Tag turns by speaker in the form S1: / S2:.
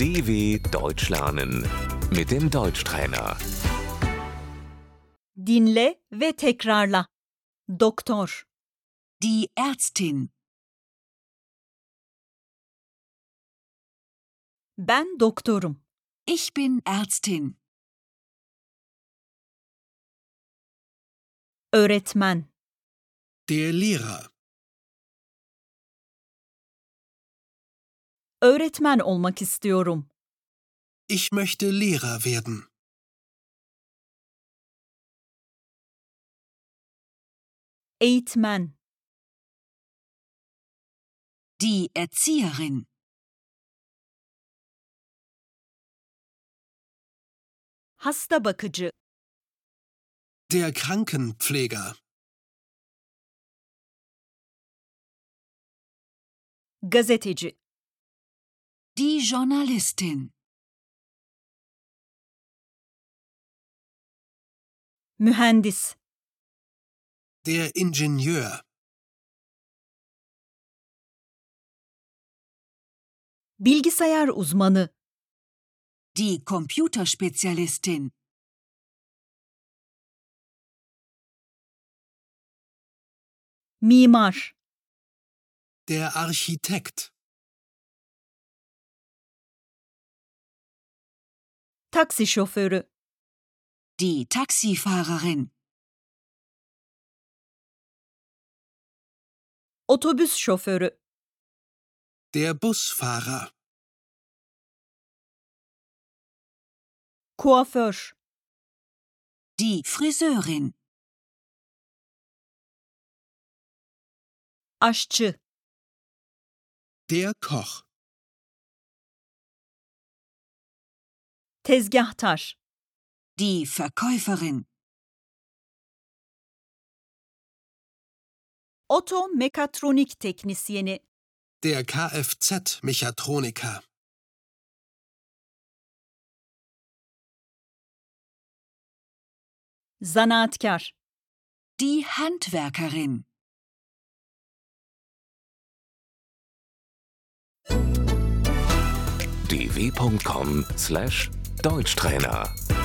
S1: DW Deutsch lernen mit dem Deutschtrainer.
S2: Dinle ve tekrarla. Doktor,
S3: Die Ärztin.
S2: ben doktorum.
S3: Ich bin Ärztin.
S2: Öğretmen,
S4: Der Lehrer.
S2: öğretmen olmak istiyorum.
S4: Ich möchte Lehrer werden.
S2: Eğitmen,
S3: Die Erzieherin.
S2: hasta bakıcı,
S4: Der Krankenpfleger.
S2: gazeteci,
S3: Die Journalistin.
S2: mühendis,
S4: Der Ingenieur.
S2: bilgisayar uzmanı,
S3: Die Computerspezialistin.
S2: mimar,
S4: Der Architekt.
S2: taksi şoförü,
S3: Die Taxifahrerin.
S2: otobüs şoförü,
S4: Der Busfahrer.
S2: kuaför,
S3: Die Friseurin.
S2: aşçı,
S4: Der Koch.
S2: tezgahtar,
S3: Die Verkäuferin.
S2: otomekatronik teknisyeni,
S4: Der Kfz-Mechatroniker.
S2: zanaatkar,
S3: Die Handwerkerin.
S1: dw.com/deutschtrainer